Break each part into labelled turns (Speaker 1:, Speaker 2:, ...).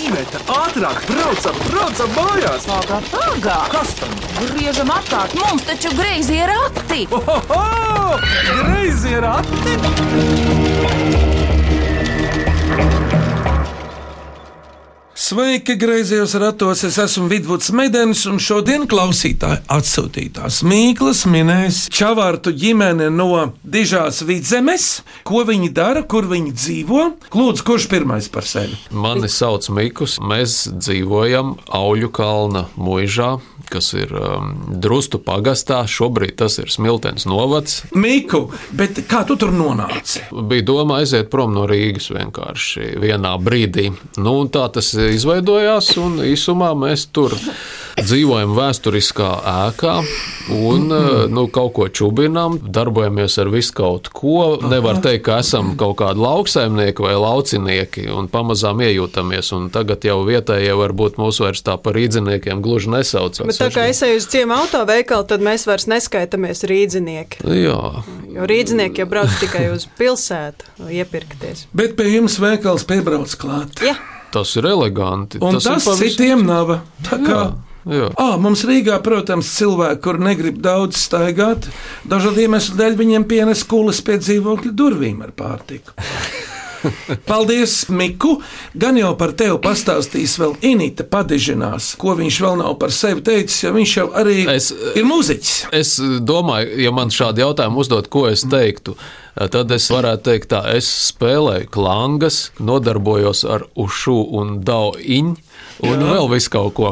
Speaker 1: Iveta, ātrāk, braucam, braucam mājās!
Speaker 2: Pagā, pagā!
Speaker 1: Kas tam?
Speaker 2: Griežam atkārt, mums taču greizi ir rati!
Speaker 1: Oho! Greizi ir ati!
Speaker 3: Sveiki, grazījos ratos. Es esmu Vidvuds Medens, un šodien klausītāji atsūtītās mīklas minēs Čavārtu ģimene no Dižās Vidzemes. Ko viņi dara, kur viņi dzīvo? Lūdzu, kurš pirmais par sevi?
Speaker 4: Mani sauc Mikls. Mēs dzīvojam Auļu kalna mūžā, kas ir um, Drustu pagastā. Šobrīd tas ir Smiltens novads.
Speaker 3: Miku, bet kā tu tur nonāci?
Speaker 4: Bija doma aiziet prom no Rīgas vienkārši vienā brīdī. Nu, un tā tas izveidojās, un īsumā mēs tur dzīvojam vēsturiskā ēkā un eh, nu, kaut ko čubinām, darbojamies ar visu kaut ko. Nevar teikt, ka esam kaut kādi lauksaimnieki vai laucinieki un pamazām iejūtamies, un tagad jau vietējie varbūt mūs vairs tā par rīdziniekiem gluži nesauc.
Speaker 5: Bet tā kā es eju uz ciemu autoveikalu, tad mēs vairs neskaitāmies rīznieki.
Speaker 4: Jā,
Speaker 5: Jo rīznieki jau brauc tikai uz pilsētu iepirkties.
Speaker 3: Bet pie jums veikals piebrauc klāt.
Speaker 5: Ja,
Speaker 4: tas ir eleganti.
Speaker 3: Un tas,
Speaker 4: ir
Speaker 3: tas
Speaker 4: pavisam-
Speaker 3: citiem nav. Tā kā
Speaker 4: Jā.
Speaker 3: À, mums Rīgā, protams, cilvēki, kur negrib daudz staigāt, dažādu iemeslu dēļ viņiem pienes kulis pie dzīvokļa durvīm ar pārtiku. Paldies, Miku! Gan jau par tevi pastāstīs vēl Inīte padižinās, ko viņš vēl nav par sevi teicis, jo viņš jau arī es,
Speaker 4: Es,
Speaker 3: ir mūziķis.
Speaker 4: Es domāju, ja man šādi jautājumi uzdot, ko es teiktu, tad es varētu teikt, tā es spēlēju klangas, nodarbojos ar ušu un dauiņu. Un Jā. vēl visu kaut ko.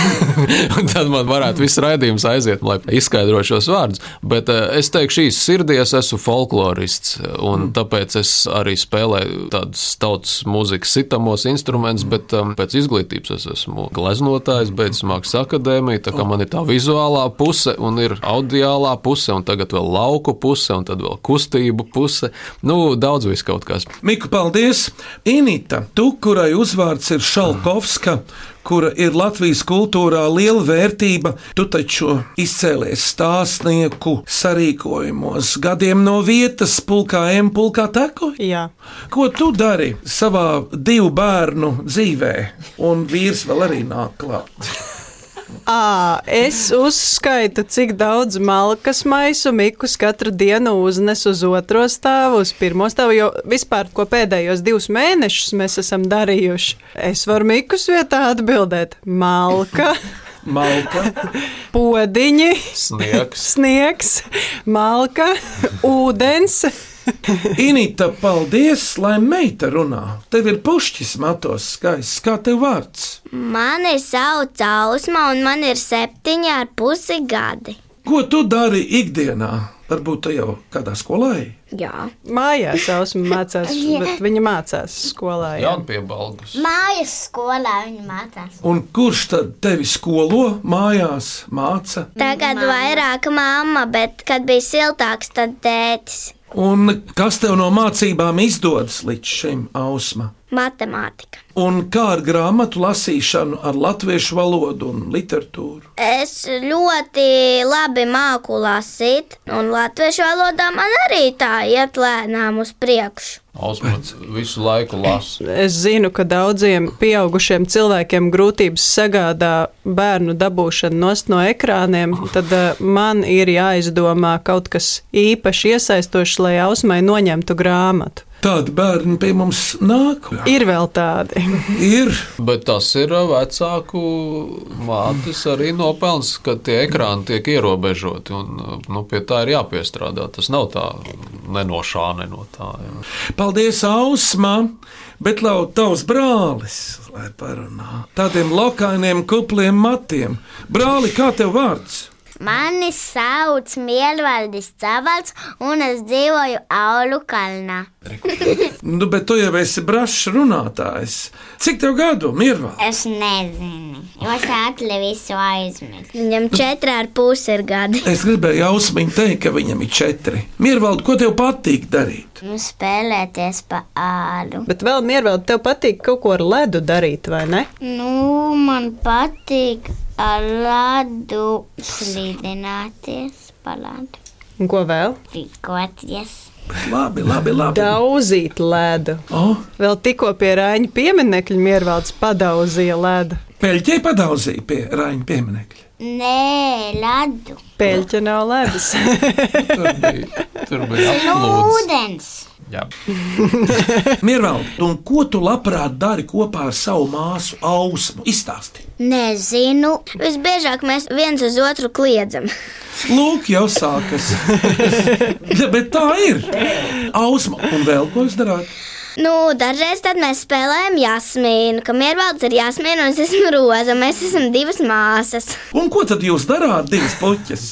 Speaker 4: Un tad man varētu viss raidījums aiziet, lai izskaidrotu šos vārdus. Bet eh, es teikšu, šīs sirdies esmu folklorists. Un tāpēc es arī spēlēju tādus tautas mūzikas sitamos instrumentus, bet um, pēc izglītības es esmu gleznotājs, beidzis mākslas akadēmiju. Tā kā man ir tā vizuālā puse, un ir audiālā puse, un tagad vēl lauku puse, un tad vēl kustību puse. Nu, daudz viss kaut kas.
Speaker 3: Miku, paldies! Inīte, tu, kurai uzvārds ir Šalkovska, kura ir Latvijas kultūrā liela vērtība, tu taču izcēlies stāstnieku sarīkojumos, gadiem no vietas, pulkā M, pulkā teko.
Speaker 5: jā.
Speaker 3: Ko tu dari savā divu bērnu dzīvē, un vīrs vēl arī nāk klāt?
Speaker 5: À, es uzskaitu, cik daudz malkas maisu Mikus katru dienu uznes uz otro stāvu, uz pirmo stāvu. Jo vispār, ko pēdējos divus mēnešus mēs esam darījuši, es varu Mikus vietā atbildēt: malka,
Speaker 3: Malka,
Speaker 5: podiņi,
Speaker 4: Sniegs.
Speaker 5: sniegs, malka, ūdens.
Speaker 3: Inīta, paldies, lai meita runā. Tev ir pušķis matos skaists, kā tev vārds.
Speaker 6: Mani sauc Ausma, un man ir septiņi ar pusi gadi.
Speaker 3: Ko tu dari ikdienā? Varbūt te jau kādā skolā? ej?
Speaker 6: Jā.
Speaker 5: Mājās ausma mācās, bet viņa mācās skolā. Jā.
Speaker 4: Jaunpiebalgus.
Speaker 6: Mājas skolā viņa mācās.
Speaker 3: Un kurš tad tevi skolo mājās, māca?
Speaker 6: Tagad vairāk mamma, bet kad bija siltāks, tad tētis.
Speaker 3: Un kas tev no mācībām izdodas līdz šim ausmam?
Speaker 6: Matemātika.
Speaker 3: Un kā ar grāmatu lasīšanu, ar latviešu valodu un literatūru?
Speaker 6: Es ļoti labi māku lasīt, un latviešu valodā man arī tā iet lēnām uz priekšu.
Speaker 4: Ausmats visu laiku lasa.
Speaker 5: Es zinu, ka daudziem pieaugušiem cilvēkiem grūtības sagādā bērnu dabūšanu nost no ekrāniem. Tad eh, man ir jāizdomā kaut kas īpaši iesaistošs, lai ausmai noņemtu grāmatu.
Speaker 3: Tādi bērni pie mums nāk.
Speaker 5: Ir vēl tādi.
Speaker 3: Ir.
Speaker 4: Bet tas ir uh, vecāku mātes arī nopelns, ka tie ekrāni tiek ierobežoti. Un, uh, nu, pie tā ir jāpiestrādā. Tas nav tā nenošā, ne no tā. Jā.
Speaker 3: Paldies, Ausma! Bet lau tavs brālis, lai parunā. Tādiem lokainiem, kupliem matiem. Brāli, kā tev vārds?
Speaker 6: Mani sauc Mielvaldis Cavals, un es dzīvoju Aulu kalnā.
Speaker 3: Nu, bet tu jau esi brašs runātājs. Cik tev gadu, Mirvā?
Speaker 7: Es nezinu, jo es ātri visu aizmirsu.
Speaker 6: Viņam četri ar pusi ir gadi.
Speaker 3: Es gribēju Ausmiņu teikt, ka viņam ir četri. Mirvald, ko tev patīk darīt?
Speaker 7: Nu, spēlēties pa ādu.
Speaker 5: Bet vēl miervēl, tev patīk kaut ko ar ledu darīt, vai ne?
Speaker 7: Nu, man patīk ar ledu slīdināties, palādu,
Speaker 5: Un ko vēl?
Speaker 7: pikoties.
Speaker 3: Labi, labi, labi.
Speaker 5: Daudzīt ledu.
Speaker 3: O,
Speaker 5: Vēl tikko pie Rāņa pieminiekļa Miervalds padauzīja ledu.
Speaker 3: peļķei padaudzīja pie Raina pieminiekļa.
Speaker 7: Nē, ledu.
Speaker 5: Pēļķa nav ledus.
Speaker 4: Tur bija, tur bija
Speaker 7: Nu,
Speaker 4: aplūds.
Speaker 7: ūdens.
Speaker 4: Jā.
Speaker 3: Mirvaldi, un ko tu labprāt dari kopā ar savu māsu Ausmu? Izstāsti.
Speaker 7: Nezinu.
Speaker 6: Visbiežāk mēs viens uz otru kliedzam.
Speaker 3: Lūk, jau sākas. ja, bet tā ir. Ausma, un vēl ko jūs darāt?
Speaker 6: Nu, dažreiz tad mēs spēlējam jāsmīnu, ka miervalds ir jāsmīna un es esmu roza. Mēs esam divas māsas.
Speaker 3: Un ko tad jūs darāt divas puķas?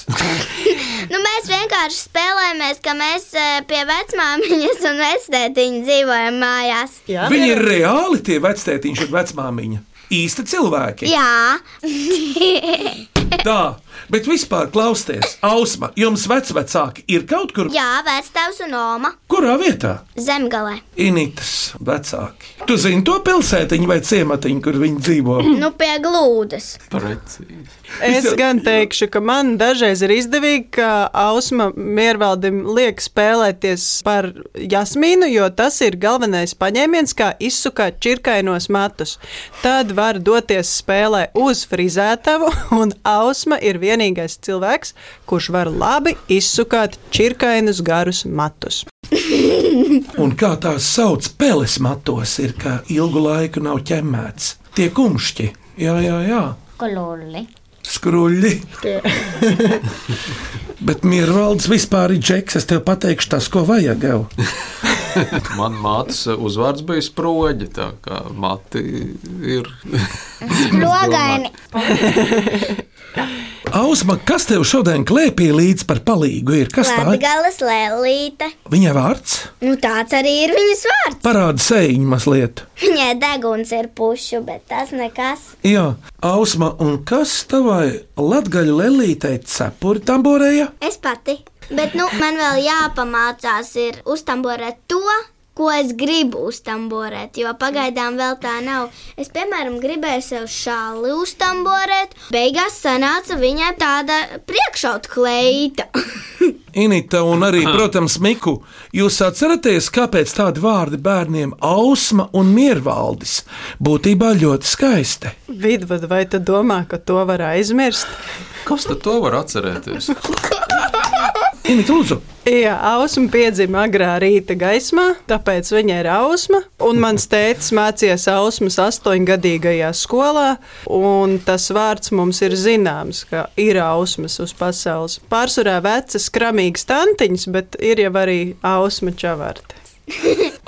Speaker 6: Nu, mēs vienkārši spēlējamies, ka mēs eh, pie vecmāmiņas un vectētiņa dzīvojam mājās.
Speaker 5: Jā,
Speaker 3: Viņi ir reāli tie vectētiņš un vecmāmiņa. Īsti cilvēki.
Speaker 6: Jā,
Speaker 3: Tā, bet vispār klausieties, Ausma, jums vecāki ir kaut kur,
Speaker 6: jā vectēvs un oma
Speaker 3: kurā vietā?
Speaker 6: zemgalē.
Speaker 3: Initas vecāki. Tu zini to pilsētiņu vai ciematiņu, kur viņi dzīvo?
Speaker 6: Nu, pie glūdas.
Speaker 4: Precīzi.
Speaker 5: Es gan teikšu, ka man dažreiz ir izdevīgi, ka Ausma Miervaldim liek spēlēties par jasmīnu, jo tas ir galvenais paņēmiens, kā izsukāt čirkainos matus. Tad var doties spēlē uz frizētavu, un Ausma ir vienīgais cilvēks, kurš var labi izsukāt čirkainus garus matus.
Speaker 3: Un kā tās sauc, peles matos ir, ka ilgu laiku nav ķemmēts. Tie kumšķi, jā, jā, jā.
Speaker 7: Kololi.
Speaker 3: skruļļi. Bet Mirvalds vispār ir džeks, es tev pateikšu tas, ko vajag. Jau.
Speaker 4: Man mātes uzvārds bija sproģi, tā kā mati ir.
Speaker 7: Logaini.
Speaker 3: Ausma, kas tev šodien klēpī līdz par palīgu ir? Kas tā ir?
Speaker 6: Latgales lēlīte.
Speaker 3: Viņa vārds?
Speaker 6: Nu, tāds arī ir viņas vārds.
Speaker 3: Parāda sēņu mazliet.
Speaker 6: Viņai deguns ir pušu, bet tas nekas.
Speaker 3: Jā, Ausma, un kas tavai latgaļu lelītei cepuri tamborēja?
Speaker 6: Es pati. Bet nu, man vēl jāpamācās ir uztamborēt to, ko es gribu uztamborēt. Jo pagaidām vēl tā nav. Es, piemēram, gribēju sev šāli uztamborēt. Beigās sanāca viņai tāda priekšauta kleita.
Speaker 3: Inita un arī, protams, Miku, jūs atceraties, kāpēc tādi vārdi bērniem - ausma un miervaldis - būtībā ļoti skaisti.
Speaker 5: Vidvada, vai tu domā, ka to var aizmirst?
Speaker 4: Kas tad to var atcerēties?
Speaker 3: Inita, lūdzu,
Speaker 5: Jā, ausma piedzima agrā rīta gaismā, tāpēc viņa ir ausma. Un mans tēvs mācījās ausmas astoņgadīgajā skolā, un tas vārds mums ir zināms, ka ir ausmas uz pasaules. Pārsvarā vecas, kramīgas tantiņas, bet ir jau arī ausma čavārti.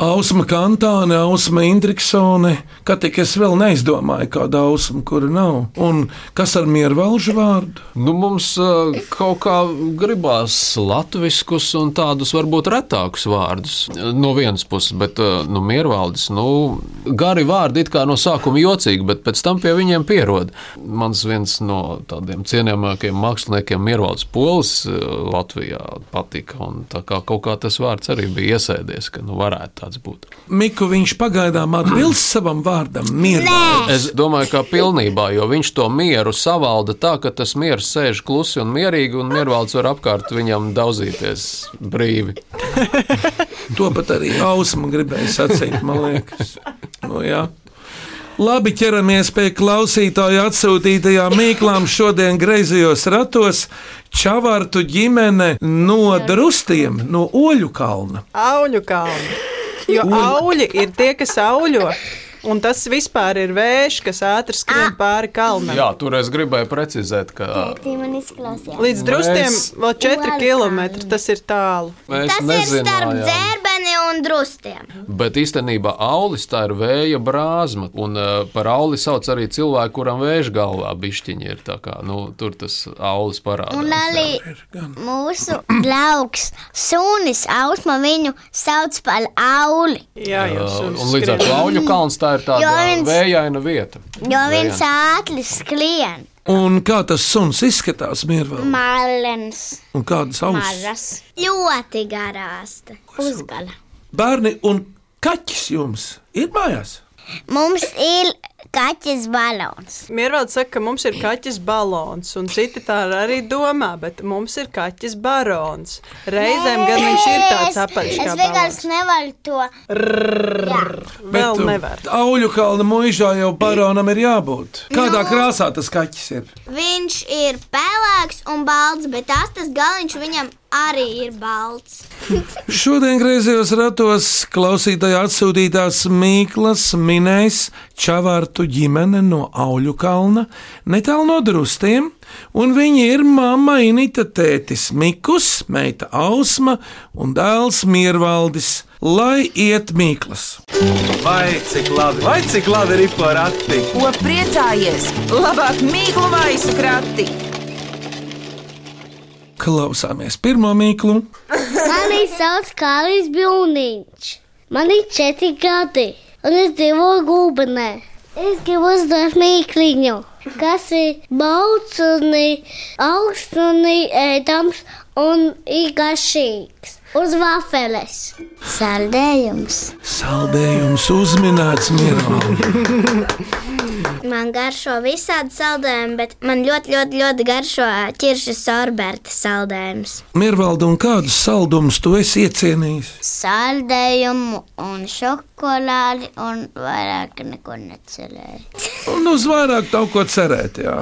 Speaker 3: ausma kantāne, ausma indriksone, kā tik es vēl neizdomāju, kāda ausma, kura nav. Un kas ar miervalžu vārdu?
Speaker 4: Nu, mums uh, kaut kā gribās latviskus un tādus varbūt retākus vārdus uh, no vienas puses, bet uh, nu, miervaldis, nu, gari vārdi it kā no sākuma jocīgi, bet pēc tam pie viņiem pierod. Mans viens no tādiem cienījamākiem māksliniekiem miervaldis polis uh, Latvijā patika, un tā kā kaut kā tas vārds arī bija iesēdies, ka nu varētu tāds būt.
Speaker 3: Miku viņš pagaidām atbilst savam vārdam - miervaldis.
Speaker 4: Es domāju, ka pilnībā, jo viņš to mieru savalda tā, ka tas miers sēž klusi un mierīgi, un miervalds var apkārt viņam daudzīties brīvi.
Speaker 3: To pat arī ausma gribēja sacīt, man liekas. Nu, jā. Labi, ķeramies pie klausītāju atsūtītajām mīklām. Šodien griezījos ratos Čavārtu ģimene no Drustiem, no Oļu kalna.
Speaker 5: Auļu kalni. Jo auļi ir tie, kas auļo. Un tas vispār ir vējš, kas ātri skrien pāri kalnam.
Speaker 4: Jā, tur es gribēju precizēt, ka
Speaker 7: Tī man izklausījās.
Speaker 5: Līdz drustiem vēl 4
Speaker 7: Oļu
Speaker 5: km. Tas ir tālu.
Speaker 4: mēs
Speaker 6: Tas ir starp
Speaker 4: nezinām.
Speaker 6: dzērbeni un drustiem.
Speaker 4: Bet īstenībā aulis tā ir vēja brāzma, un eh, par auli sauc arī cilvēku, kuram vēža galvā bišķiņi ir tā kā, nu, tur tas aulis
Speaker 7: Un
Speaker 4: parādās.
Speaker 7: arī mūsu draugs Sunis Ausma viņu sauc par auli,
Speaker 5: Jā,
Speaker 4: Eh,
Speaker 5: jau
Speaker 4: Un līdz ar to auļu kalns tā ir tāda
Speaker 7: Jo viņš-
Speaker 4: vējaina vieta.
Speaker 7: jo viņš
Speaker 4: Vējaina.
Speaker 7: ātri skrien.
Speaker 3: Un kā tas suns izskatās, miervaldis?
Speaker 7: Malens,
Speaker 3: Un kādas ausis?
Speaker 7: mažas,
Speaker 6: Ļoti garāsta.
Speaker 7: uzgala.
Speaker 3: Bērni un kaķis jums ir mājās.
Speaker 7: Mums ir kaķis balons.
Speaker 5: Miervalds saka, ka mums ir kaķis balons, un citi tā arī domā, bet mums ir kaķis barons. Reizēm gan viņš ir tāds apaļš,
Speaker 7: Es
Speaker 5: kā balons.
Speaker 7: vienkārši nevaru to.
Speaker 5: Vēl
Speaker 4: um,
Speaker 3: Bet, uh,
Speaker 5: nevar.
Speaker 3: Auļu kalna mūžā jau baronam ir jābūt. Kādā krāsā tas kaķis ir?
Speaker 6: Viņš ir pelēks un balts, bet tās tas galiņš viņam arī ir balts.
Speaker 3: Šodien griezījos ratos klausītāja atsūtītās Mīklas minējas Čavārtu ģimene no Auļu kalna, netālu no drustiem, un viņi ir mamma Inita tētis Mikus, meita Ausma un dēls Miervaldis. Lai iet Mīklas!
Speaker 1: Vai cik labi, vai cik labi ir porakti?
Speaker 2: Ko priecājies? Labāk mīklu maisu krati.
Speaker 3: Klausāmies pirmo mīklu!
Speaker 8: Mani sauc Kālis Bilniņš. Man ir četri gadi, un es dzīvoju gulbenē. Es gribu uzdot mīkliņu, kas ir balts un ir augsts un ir ēdams un ir garšīgs. Uz vafeles.
Speaker 7: Saldējums.
Speaker 3: Saldējums uzminēts Miervaldi!
Speaker 6: Man garšo visādi saldējumi, bet man ļoti, ļoti, ļoti garšo ķirša sorberta saldējums.
Speaker 3: Miervaldi, un kādus saldumus tu esi iecienījis?
Speaker 7: Saldējumu un šokolādi un vairāk neko necerēju.
Speaker 3: Un uz vairāk kaut ko cerēt, jā.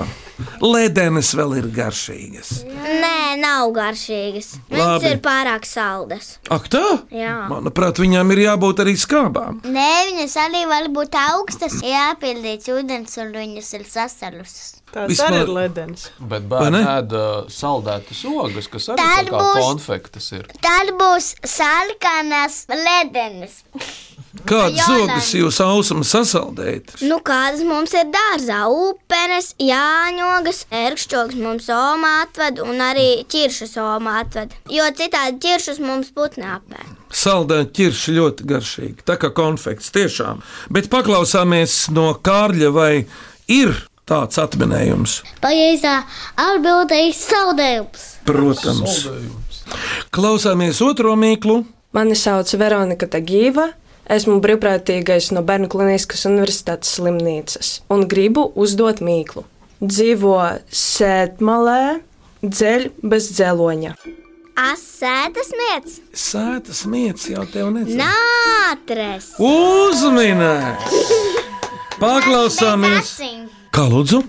Speaker 3: Ledenes vēl ir garšīgas.
Speaker 6: Nē, nav garšīgas. Viņas
Speaker 3: Labi.
Speaker 6: ir pārāk saldas.
Speaker 3: Ak, tā?
Speaker 6: Jā.
Speaker 3: Manuprāt, viņām ir jābūt arī skābām.
Speaker 7: Nē, viņas arī var būt augstas, ja apildīts ūdens un viņas ir sasalušas.
Speaker 5: Tāds
Speaker 3: Vispār-
Speaker 5: arī ir ledens.
Speaker 4: Bet
Speaker 3: Vai
Speaker 4: bērni
Speaker 3: ne?
Speaker 4: ēda saldētas ogas, kas arī
Speaker 7: Tā
Speaker 4: tā kā
Speaker 7: būs-
Speaker 4: konfektes ir.
Speaker 7: Tad būs sarkanas ledenes.
Speaker 3: Kādas
Speaker 7: Jolanai.
Speaker 3: ogas jūs ausmas sasaldējat?
Speaker 6: Nu, kādas mums ir dārzā? Upenes, jāņogas, ērkšķogas mums oma atved un arī ķiršas oma atved. Jo citādi ķiršas mums putnē apēd.
Speaker 3: Saldēta ķirši ļoti garšīga, tā kā konfekts tiešām. Bet paklausāmies no Kārļa, vai ir tāds atminējums?
Speaker 8: Pareizā atbildē ir saldējums.
Speaker 3: Protams. Klausāmies otro mīklu.
Speaker 9: Mani sauc Veronika Tagīva. Esmu brīvprātīgais no Bērnu Kliniskās Universitātes slimnīcas un gribu uzdot mīklu. Dzīvo sēdmalē, dzeļ bez dzeloņa.
Speaker 6: Asētas mietas,
Speaker 3: Sēta smietis jau tev nezina.
Speaker 6: nātres,
Speaker 3: Uzminēts! Paklausāmies!
Speaker 7: Asins.
Speaker 3: Kā lūdzu?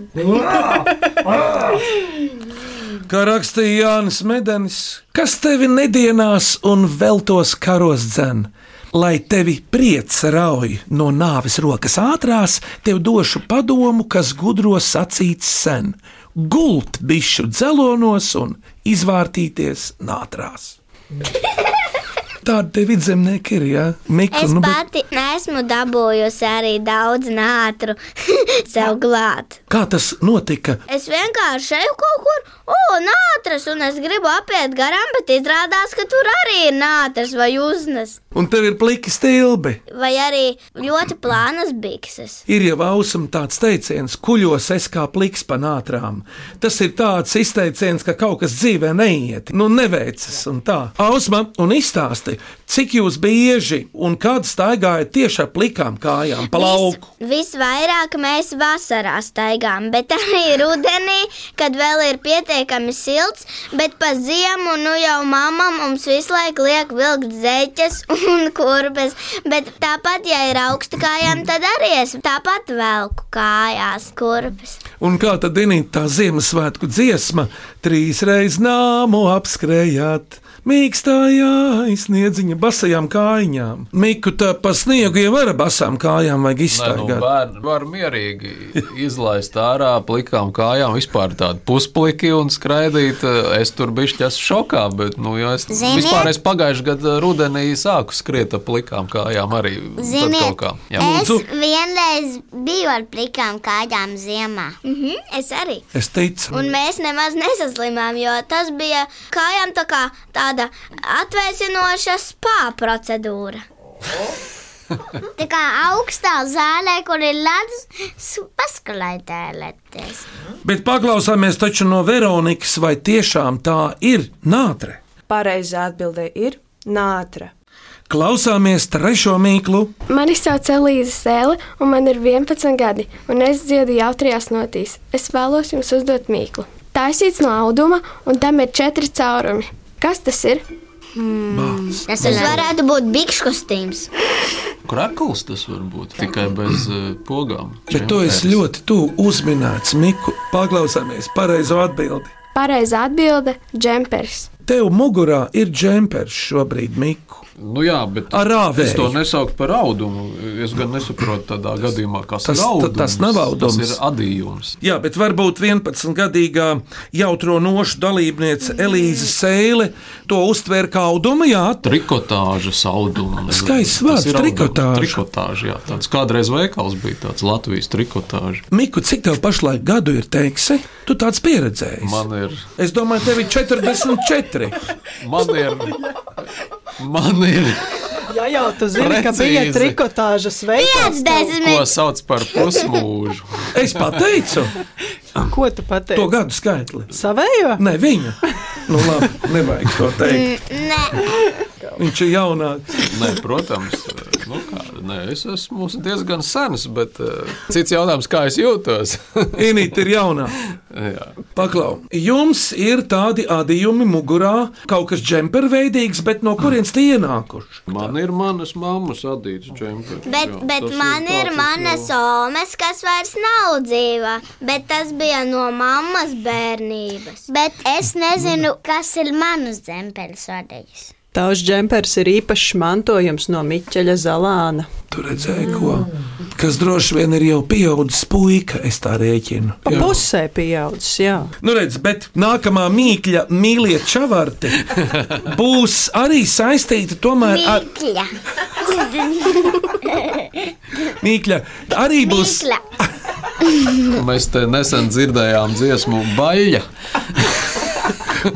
Speaker 3: Kā rakstīja Jānis Medenis, kas tevi nedienās un veltos karos dzen, lai tevi prieks rauj no nāves rokas ātrās, tev došu padomu, kas gudro sacīts sen - gult bišu dzelonos un izvārtīties nātrās. Tāda tev vidzemnieki ir, jā, nu, Mikls.
Speaker 6: Es pati esmu dabūjusi arī daudz nātru sev glāt.
Speaker 3: kā tas notika?
Speaker 6: Es vienkārši eju kaut kur, o, nātras, un es gribu apiet garām, bet izrādās, ka tur arī ir nātras vai uznes,
Speaker 3: Un tev ir pliki stilbi.
Speaker 6: vai arī ļoti plānas bikses.
Speaker 3: Ir jau ausma tāds teiciens, kuļos es kā pliks pa nātrām. Tas ir tāds izteiciens, ka kaut kas dzīvē neiet, nu neveicas un tā. Ausma un izstāsti, cik jūs bieži un kad staigājat tieši ar plikām kājām pa lauku.
Speaker 6: Vis, visvairāk mēs vasarā staigājam, bet arī rudenī, kad vēl ir pietiekami silts, bet pa ziemu nu jau mamma mums visu laiku liek vilkt zeķes un kurbes. Bet tāpat, ja ir augsta kājām, tad arī es tāpat velku kājās kurbes.
Speaker 3: Un kā tad dinīt tā Ziemassvētku dziesma, trīs reizes nāmu apskrējāt. Mīkstājā aizsniedziņa basajām kājām. Miku tā pa sniegu jau var ar basām kājām, vajag
Speaker 4: Nē, nu,
Speaker 3: izstaigāt.
Speaker 4: bērni var mierīgi izlaist ārā, plikām kājām, vispār tādu puspliki un skraidīt. Es tur biju šķiet šokā, bet, nu, jau es
Speaker 7: Ziniet?
Speaker 4: vispār es pagājušajā gadā rudenī sāku skriet ar plikām kājām arī. tad kaut
Speaker 7: Ziniet,
Speaker 4: kā. Jā. Nu,
Speaker 7: es
Speaker 3: Lūdzu.
Speaker 7: vienreiz biju ar plikām kājām ziemā.
Speaker 6: Mhm, es arī.
Speaker 3: Es teicu,
Speaker 4: Mm.
Speaker 6: Un mēs nemaz nesaslimām, jo tas bija kājām tā kā tāda atvēsinoša spā procedūra.
Speaker 4: Oh.
Speaker 7: Tā kā augstā zālē, kur ir ledus, paskalaitēlēties.
Speaker 3: Bet paklausāmies taču no Veronikas, vai tiešām tā ir nātre.
Speaker 9: Pareizā atbildē ir nātra.
Speaker 3: Klausāmies trešo mīklu.
Speaker 10: Mani sauc Elīza Sēle, un man ir 11 gadi, un es dziedu jautrajās notīs. Es vēlos jums uzdot mīklu. Taisīts no auduma, un tam ir četri caurumi. Kas tas ir?
Speaker 6: Tas varētu būt bikšu kostīms.
Speaker 4: Krakls tas var būt tikai bez uh, pogām.
Speaker 3: Bet tu esi ļoti tuvu uzminēts, Miku. Paklausāmies pareizo atbildi.
Speaker 10: Pareizā atbilde - džempers.
Speaker 3: Tev mugurā ir džempers šobrīd, Miku.
Speaker 4: Nu jā, bet
Speaker 3: Ar rāvēju.
Speaker 4: Es to nesaucu par audumu. Es gan nesaprotu, tādā gadījumā, kas
Speaker 3: Tas-
Speaker 4: ir audums.
Speaker 3: tas nav audums.
Speaker 4: Tas ir adījums.
Speaker 3: Jā, bet varbūt 11-gadīgā jautro nošu dalībniece Elīze Sēle to uztvēra kā audumu. Jā,
Speaker 4: Trikotāža auduma. nezinu.
Speaker 3: Skaists
Speaker 4: Tas
Speaker 3: vārds,
Speaker 4: ir audums.
Speaker 3: trikotāža.
Speaker 4: Trikotāža, jā. Tāds kādreiz veikals bija tāds Latvijas trikotāža.
Speaker 3: Miku, cik tev pašlaik gadu ir teiksi? Tu tāds pieredzējis.
Speaker 4: Man ir,
Speaker 3: Es domāju, tev ir 44.
Speaker 4: man ir, man ir,
Speaker 5: Jā, jau tu zini, ka bija
Speaker 4: Precīzi.
Speaker 5: trikotāžas veids,
Speaker 6: 50.
Speaker 4: ko sauc par pusmūžu.
Speaker 3: Es pateicu
Speaker 5: ko
Speaker 3: to
Speaker 5: tu pateici.
Speaker 3: gadu skaitli.
Speaker 5: Savējo?
Speaker 3: Nē, viņa. Nu, labi, nevajag to teikt.
Speaker 6: Nē,
Speaker 3: Viņš ir jaunāks.
Speaker 4: Nē, protams, nu kā, nē, es esmu diezgan sens, bet eh, cits jautājums, kā es jūtos.
Speaker 3: Inīte ir jaunāka.
Speaker 4: Jā.
Speaker 3: Paklau, jums ir tādi adījumi mugurā, kaut kas džemperveidīgs, bet no kurienes tie ienākuši?
Speaker 4: Man ir manas mammas adīts džempers.
Speaker 6: bet,
Speaker 4: jā.
Speaker 6: bet
Speaker 4: Tas ir
Speaker 6: man
Speaker 4: tāds,
Speaker 6: ir
Speaker 4: es
Speaker 6: manas
Speaker 4: jau-
Speaker 6: omes, kas vairs nav dzīva, bet tas bija no mammas bērnības.
Speaker 7: Bet es nezinu, kas ir manas dzempeļu sadaļas.
Speaker 5: Tavs džempers ir īpašs mantojums no Miķeļa Zalāna.
Speaker 3: Tur redzēju, ko. Kas droši vien ir jau pieaudzis puika, es tā rēķinu.
Speaker 5: Pa pusē pieaudzis, jā.
Speaker 3: Nu, redz, bet nākamā mīkļa, mīļie čavārti, būs arī saistīta tomēr ar
Speaker 7: Mikļa.
Speaker 3: mīkļa. Arī būs
Speaker 7: Mikļa.
Speaker 4: Nu, Mēs te nesen dzirdējām dziesmu baļķa.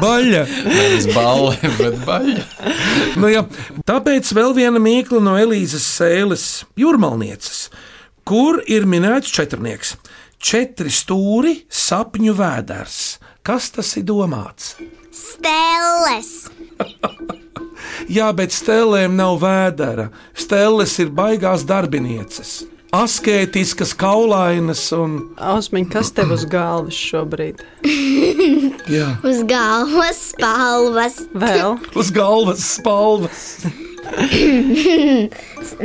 Speaker 3: baļķa.
Speaker 4: Nevis balle, bet baļķa.
Speaker 3: Nu, jā. Tāpēc vēl viena mīkla no Elīzes sēles jūrmalnieces, kur ir minēts četrnieks. Četri stūri, sapņu vēders. Kas tas ir domāts?
Speaker 6: Stēles!
Speaker 3: Jā, bet stēlēm nav vēdera. Stēles ir baigās darbinieces. Askētiskas, kaulainas un.
Speaker 5: Ausmiņ, kas tev uz galvas šobrīd?
Speaker 3: Jā.
Speaker 6: Uz galvas palvas!
Speaker 5: Vēl
Speaker 3: Uz galvas spalvas.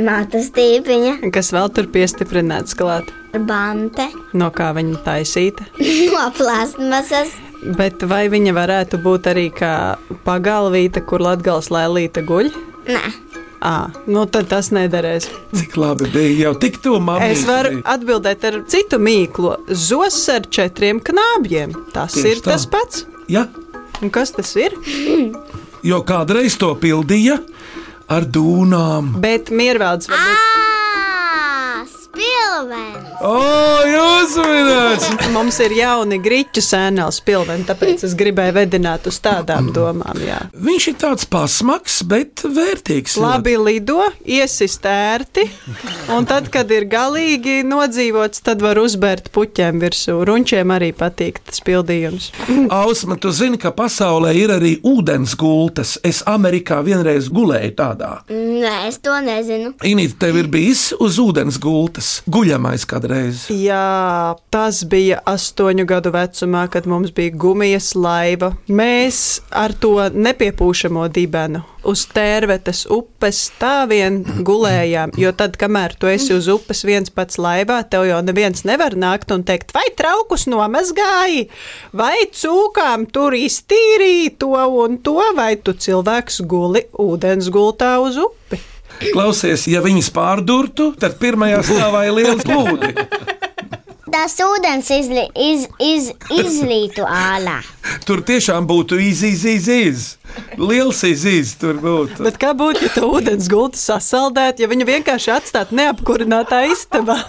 Speaker 6: Māta stīpiņa,
Speaker 5: kas vēl tur piestiprināts klāt,
Speaker 6: bante,
Speaker 5: no kā viņa taisīta.
Speaker 6: no plasmasas,
Speaker 5: Bet vai viņa varētu būt arī kā pagalvīta, kur latgals lēlīta guļ?
Speaker 6: nē,
Speaker 5: Ā, nu tad tas nederēs.
Speaker 3: Cik labi bija jau tik tuvu mammai.
Speaker 5: Es varu atbildēt ar citu mīklu. Zos ar četriem knābjiem. Tas
Speaker 3: Tieši
Speaker 5: ir
Speaker 3: tā.
Speaker 5: tas pats.
Speaker 3: Ja,
Speaker 5: Un kas tas ir?
Speaker 3: jo kādreiz to pildīja ar dūnām.
Speaker 5: Bet miervēlds var būt.
Speaker 6: ah, spilvens!
Speaker 3: O, jūs minējāt!
Speaker 5: Mums ir jauni grīķu sēnēls pilveni, tāpēc es gribēju vedināt uz tādām domām. Jā.
Speaker 3: Viņš ir tāds pasmaks, bet vērtīgs.
Speaker 5: Labi lido, iesist ērti, un tad, kad ir galīgi nodzīvots, tad var uzbērt puķiem virsū. Runčiem arī patīk tas pildījums.
Speaker 3: Ausma, tu zini, ka pasaulē ir arī ūdens gultas. Es Amerikā vienreiz gulēju tādā.
Speaker 6: Nē, es to nezinu.
Speaker 3: Inīte, tev ir bijis uz ūdens gultas, guļamais kādreiz.
Speaker 5: Jā, tas bija astoņu gadu vecumā, kad mums bija gumijas laiva. Mēs ar to nepiepūšamo dibenu uz tērvetes upes tā vien gulējām. Jo tad, kamēr tu esi uz upes viens pats laivā, tev jau neviens nevar nākt un teikt, vai traukus nomazgāji, vai cūkām tur iztīrīji to un to, vai tu cilvēks guli ūdens gultā uz upi.
Speaker 3: Klausies, ja viņas pārdurtu, tad pirmajā stāvā ir liels plūdi.
Speaker 7: Tas ūdens izli, iz, iz, izlītu ālā.
Speaker 3: Tur tiešām būtu izzīs, liels izzīs tur būtu.
Speaker 5: Bet kā būtu, ja tā ūdens gulta sasaldētu, ja viņu vienkārši atstātu neapkurinātā istabā?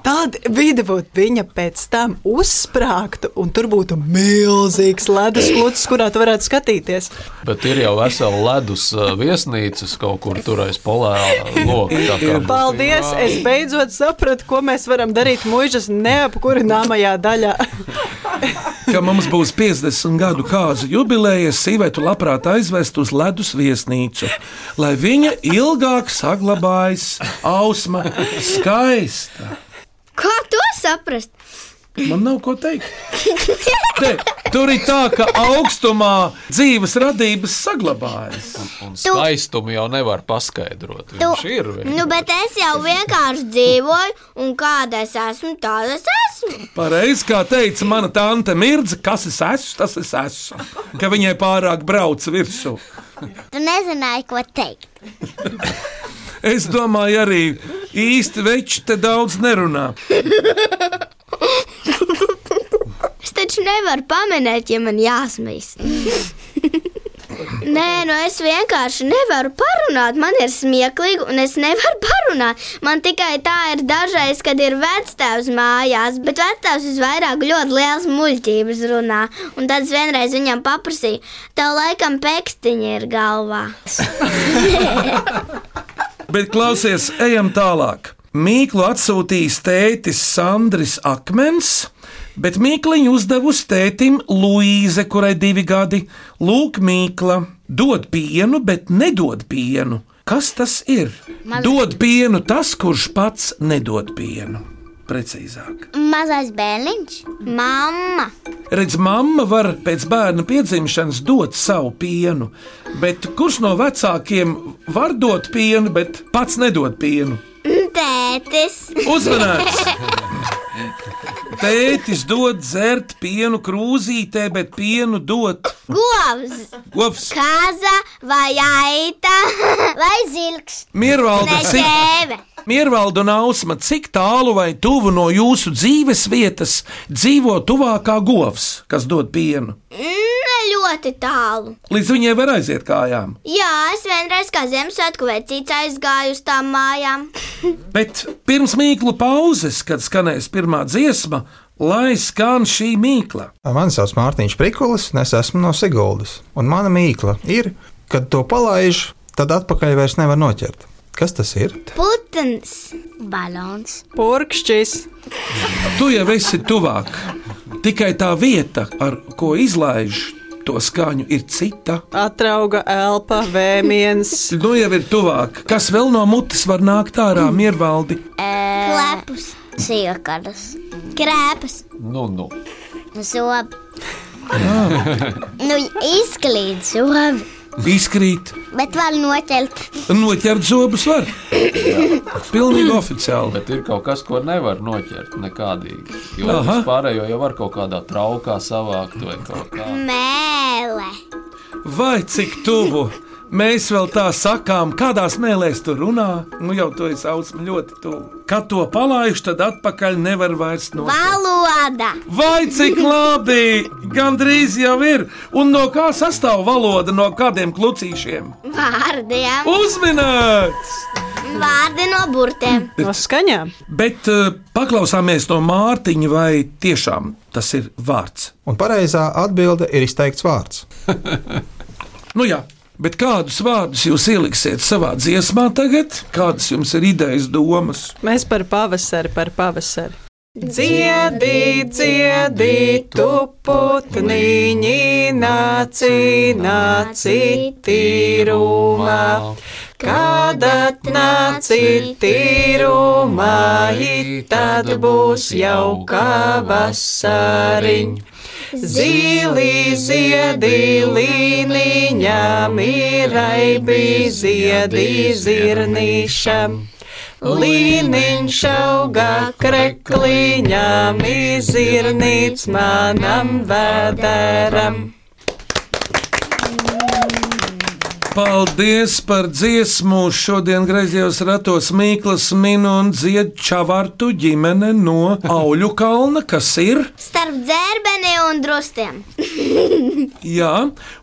Speaker 5: Tad vidi būtu viņa pēc tam uzsprāgta, un tur būtu milzīgs ledus klūcis, kurā tu varētu skatīties.
Speaker 4: Bet ir jau vesela ledus ā, viesnīcas kaut kur tur aiz polē, lokā.
Speaker 5: Paldies! Es beidzot sapratu, ko mēs varam darīt mūžas neapkurināmajā daļā.
Speaker 3: Ka mums būs 50 gadu kāzu jubileja, sīvētu labprāt aizvest uz ledus viesnīcu, lai viņa ilgāk saglabājas ausma skaista.
Speaker 6: Kā to saprast?
Speaker 3: Man nav ko teikt. Te, tur ir tā, ka augstumā dzīves radības saglabājas.
Speaker 4: Un skaistumu jau nevar paskaidrot. Viņš ir. vienkārši.
Speaker 6: Nu, bet es jau vienkārši dzīvoju, un kāda es esmu, tāda es esmu.
Speaker 3: Pareizi, kā teica mana tante Mirza, kas es esmu, tas es esmu. Ka viņai pārāk brauc virsū.
Speaker 7: Tu nezināji, ko teikt.
Speaker 3: Es domāju, arī īsti veči te daudz nerunā.
Speaker 6: Es taču nevaru pamanīt, ja man jāsmīs. Nē, nu es vienkārši nevaru parunāt. Man ir smieklīgi, un es nevaru parunāt. Man tikai tā ir dažreiz, kad ir vecāks mājās, bet vecāks visvairāk ļoti liels muļķības runā. Un tad es vienreiz viņam paprasīju, tev laikam pēkstiņi ir galvā.
Speaker 3: Bet klausies, ejam tālāk. Mīklu atsūtījis tētis Sandris Akmens, bet Mīkliņu uzdevusi tētim Luīze, kurai divi gadi. Lūk, Mīkla dod pienu, bet nedod pienu. Kas tas ir? Dod pienu tas, kurš pats nedod pienu. Precīzāk.
Speaker 7: Mazais bērniņš.
Speaker 6: Mamma!
Speaker 3: Redz, mamma var pēc bērna piedzimšanas dot savu pienu, bet kurš no vecākiem var dot pienu, bet pats nedod pienu?
Speaker 6: Tētis!
Speaker 3: Uzmanīgs! Tētis dod dzert pienu krūzītē, bet pienu dod
Speaker 6: Govs!
Speaker 3: govs.
Speaker 6: Kaza vai aita
Speaker 7: Vai zilgs?
Speaker 3: Miervalda, cik,
Speaker 6: dēve!
Speaker 3: Miervalda un Ausma, cik tālu vai tuvu no jūsu dzīves vietas dzīvo tuvākā govs, kas dod pienu?
Speaker 6: Ne ļoti tālu.
Speaker 3: Līdz viņai var aiziet kājām.
Speaker 6: Jā, es vienreiz kā Ziemassvētku vecīts aizgāju uz tām mājām.
Speaker 3: Bet pirms mīklu pauzes, kad skanēs pirmā dziesma, lai skan šī mīkla.
Speaker 11: Mani sauc Mārtiņš Prikulis, un es esmu no Siguldas. Un mana mīkla ir, kad to palaiž, tad atpakaļ vairs nevar noķert. Kas tas ir?
Speaker 6: Putns,
Speaker 7: Balons.
Speaker 5: Purkšķis!
Speaker 3: Tu jau esi tuvāk. Tikai tā vieta, ar ko izlaiž to skaņu, ir cita.
Speaker 5: Atrauga elpa, vēmiens.
Speaker 3: Nu jau ir tuvāk. Kas vēl no mutes var nākt ārā miervaldi?
Speaker 6: klepus,
Speaker 7: Sīvakaras.
Speaker 6: krēpes,
Speaker 4: Nu, nu.
Speaker 7: Zobi. nu, izklīd zobi.
Speaker 3: Izkrīt,
Speaker 7: Bet var noķert.
Speaker 3: noķert zobus var. Pilnīgi oficiāli.
Speaker 4: Bet ir kaut kas, ko nevar noķert nekādīgi. Jo
Speaker 3: Aha.
Speaker 4: vispārējo jau var kaut kādā traukā savākt vai kaut kā.
Speaker 6: mēlē,
Speaker 3: Vai cik tuvu? Mēs vēl tā sakām, kādās mēlēs tur runā. Nu jau to es ausmu ļoti tuvu. Kad to palaiž, tad atpakaļ nevar vairs no.
Speaker 6: valoda,
Speaker 3: Vai cik labi! Gan drīz jau ir. Un no kā sastāv valoda, no kādiem klucīšiem?
Speaker 6: vārdiem,
Speaker 3: Uzminēts!
Speaker 6: vārdi no burtiem.
Speaker 5: No skaņām.
Speaker 3: Bet eh, paklausāmies no Mārtiņa, vai tiešām tas ir vārds.
Speaker 11: Un pareizā atbilde ir izteikts vārds.
Speaker 3: Nu jā, bet kādus vārdus jūs ieliksiet savā dziesmā tagad? Kādas jums ir idejas, domas?
Speaker 5: Mēs par pavasari, par pavasari. Dziedi, dziedi, tu putniņi, nāci, nāci, tīrumā. Kad atnāci tīrumā, i tad būs jauka vasariņ. Zili ziedi līniņam, ir aibi ziedi zirnīšam. Līniņš auga krekliņām, izirnīts manam vēderam.
Speaker 3: Paldies par dziesmu! Šodien griezījos ratos Mīklas Minu un Ziedu Čavārtu ģimene no Auļu kalna, kas ir.
Speaker 6: Starp dzērbeni un drustiem.
Speaker 3: Jā,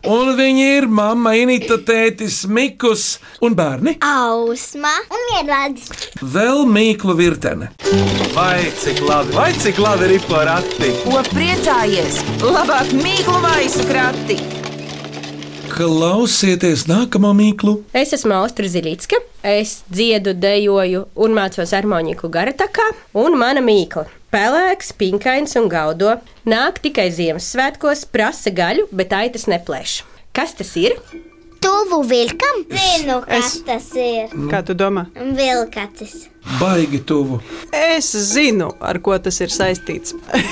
Speaker 3: un viņi ir mamma, Inita, tētis, Mikus un bērni.
Speaker 6: Ausma un ierādis.
Speaker 3: Vēl Mīklu virtene.
Speaker 1: Vai cik labi, vai cik labi ir porakti?
Speaker 2: Ko priecājies? Labāk mīklu maisu krati!
Speaker 3: Klausieties nākamo Mīklu!
Speaker 12: Es esmu Austra Ziedlītska, es dziedu, dejoju un mācos harmoniku garatakā, un mana mīkla - pelēks, pinkains un gaudo. Nāk tikai Ziemassvētkos, prasa gaļu, bet aitas neplēš. Kas tas ir?
Speaker 6: Tuvu vilkam? Zinu, kas
Speaker 5: Es-
Speaker 6: tas ir.
Speaker 5: Kā tu domā?
Speaker 6: Vilkacis.
Speaker 3: Baigi tuvu.
Speaker 5: Es zinu, ar ko tas ir saistīts.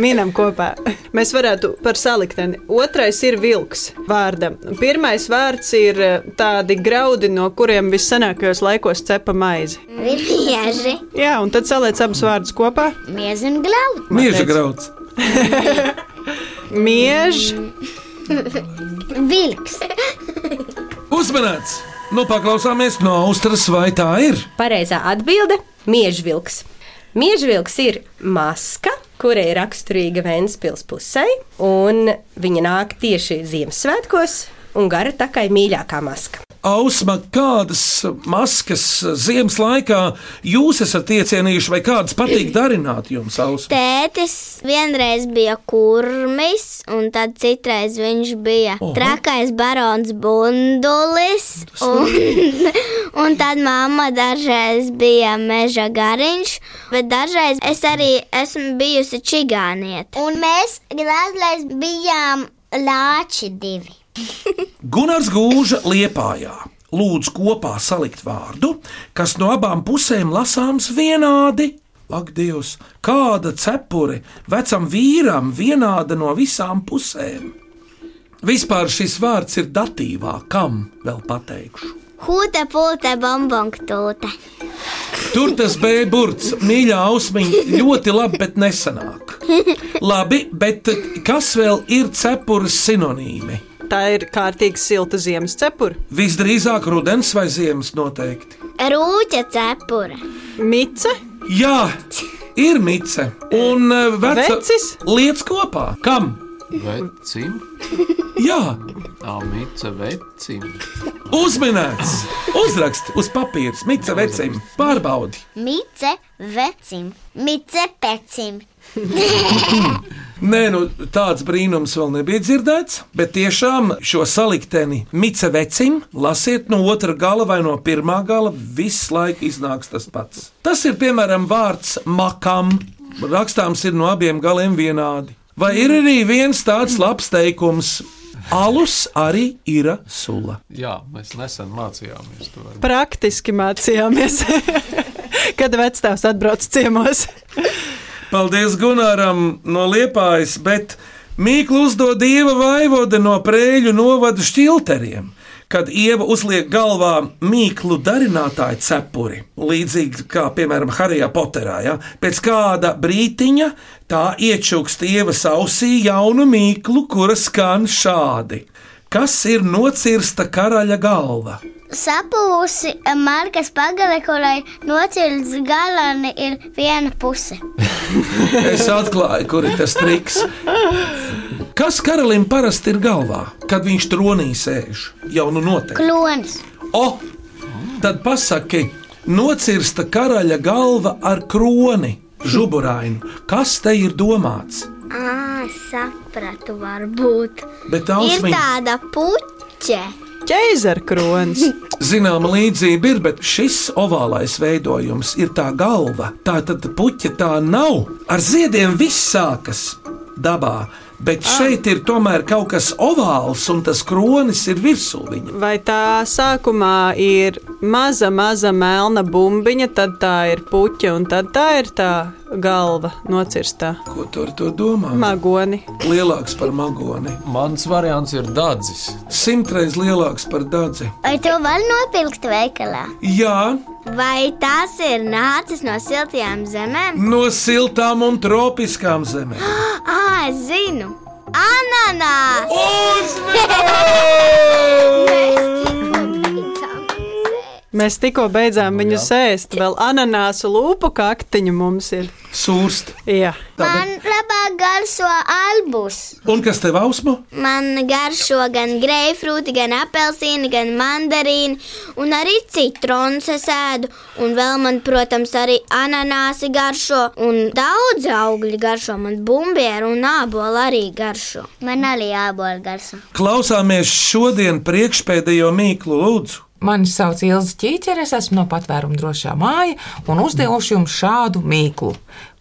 Speaker 5: Mīnām kopā. Mēs varētu par salikteni. Otrais ir vilks vārdam. Pirmais vārds ir eh, tādi graudi, no kuriem vissenākajos laikos cepa maizi.
Speaker 6: Vilkacis.
Speaker 5: Jā, un tad saliec abus vārdus kopā.
Speaker 6: Mieziņu graudu.
Speaker 3: Mieža grauds!
Speaker 5: Miež,
Speaker 6: Vilks.
Speaker 3: Uzmanīts! Nu, paklausāmies no Austras, vai tā ir?
Speaker 12: Pareizā atbilde - miežvilks. Miežvilks ir maska, kurai ir raksturīga Vēncpils pusē, un viņa nāk tieši Ziemassvētkos un gara takai mīļākā maska.
Speaker 3: Ausma, kādas maskas ziemas laikā jūs esat iecienījuši, vai kādas patīk darināt jums, Ausma?
Speaker 6: Tētis vienreiz bija kurmis, un tad citreiz viņš bija
Speaker 3: Oho.
Speaker 6: Oho. trakais barons Bundulis. Un, un tad mamma dažreiz bija meža gariņš, bet dažreiz es arī esmu bijusi čigāniete.
Speaker 7: Un mēs grāzlēs bijām lāči divi.
Speaker 3: Gunārs Gūža liepājā. Lūdzu, kopā salikt vārdu, kas no abām pusēm lasāms vienādi. Ak, Dievs, kāda cepure vecam vīram vienāda no visām pusēm? Vispār šis vārds ir datīvā, kam vēl pateikšu.
Speaker 6: Hūte, pulte, bonbonktūte.
Speaker 3: Tur tas bija burts, mīļā ausmiņa, ļoti labi, bet nesanāk. Labi, bet kas vēl ir cepures sinonīmi?
Speaker 5: tā ir kārtīgi silta ziemas cepura.
Speaker 3: Visdrīzāk rudens vai ziemas noteikti.
Speaker 6: Rūķa cepura.
Speaker 5: Mice?
Speaker 3: Jā, ir mice. Un eh, veca,
Speaker 5: Vecis?
Speaker 3: Lietas kopā. Kam?
Speaker 4: Vecim,
Speaker 3: Jā,
Speaker 4: amica vecim.
Speaker 3: uzminēts. Uzrakst uz papīra, mice vecim. Pārbaudi.
Speaker 7: Mice vecim, mice pecim.
Speaker 3: Nē, nu tāds brīnums vēl nebija dzirdēts, bet tiešām šo salikteni mice vecim lasiet no otra gala vai no pirmā gala, visu laiku iznāks tas pats. Tas ir piemēram vārds makam. Rakstāms ir no abiem galiem vienādi. Vai ir arī viens tāds labs teikums? Alus arī ir sula.
Speaker 4: Jā, mēs nesen mācījāmies to.
Speaker 5: Praktiski mācījāmies, kad vecāks atbrauc ciemos.
Speaker 3: Paldies Gunaram no Liepājas, bet Mīklu uzdod Ieva Vaivode no Prēļu novada šķilteriem. Kad ieva uzliek galvā mīklu darinātāju cepuri, līdzīgi kā, piemēram, Harijā Poterā, ja? pēc kāda brītiņa tā iečukst ievas ausī jaunu mīklu, kura skan šādi: Kas ir nocirsta karaļa galva?
Speaker 7: Sapūsi eh, markas pagale, kurai nocirts galani ir viena puse.
Speaker 3: Es atklāju, kur ir tas triks. Kas karalim parasti ir galvā, kad viņš tronī sēž? Jau nu noteikti.
Speaker 7: Klonis.
Speaker 3: O, tad pasaki, nocirsta karaļa galva ar kroni, žuburainu. Kas te ir domāts?
Speaker 6: Ah, sapratu, varbūt.
Speaker 3: Bet
Speaker 6: Ir
Speaker 3: ausmiņa.
Speaker 6: tāda puķe.
Speaker 5: Ķēzara kronis.
Speaker 3: Zināma līdzība ir, bet šis ovālais veidojums ir tā galva. Tā tad puķa tā nav. Ar ziediem viss sākas dabā, bet šeit ir tomēr kaut kas ovāls, un tas kronis ir virsū viņa.
Speaker 5: Vai tā sākumā ir maza, maza melna bumbiņa, tad tā ir puķa un tad tā ir tā galva nocirstā.
Speaker 3: Ko tu ar to domā?
Speaker 5: Magoni.
Speaker 3: Lielāks par magoni.
Speaker 4: Mans variants ir dārdzis.
Speaker 3: Simtreiz lielāks par dādzi.
Speaker 7: Vai to var nopirkt veikalā?
Speaker 3: Jā,
Speaker 6: Vai tas ir nācis no siltajām zemēm?
Speaker 3: no siltām un tropiskām zemēm.
Speaker 6: Ah, es zinu! Ananās!
Speaker 5: Mēs tikko beidzām viņu sēst. Vēl ananāsu lūpu kaktiņu mums ir.
Speaker 3: Sūrst.
Speaker 5: Jā.
Speaker 6: Man labāk garšo albus.
Speaker 3: Un kas tev ausmo?
Speaker 6: Man garšo gan greifrūti, gan apelsīni, gan mandarīni, un arī citrons es ēdu. Un vēl man, protams, arī ananāsi garšo, un daudz augļi garšo. Man bumbieru un ābolu arī garšo.
Speaker 7: Man arī jābūt garsam.
Speaker 3: Klausāmies šodien priekšpēdējo mīklu lūdzu.
Speaker 13: Mani sauc Ilza Čīčere, es esmu no patvēruma drošā māja un uzdevuši jums šādu mīklu.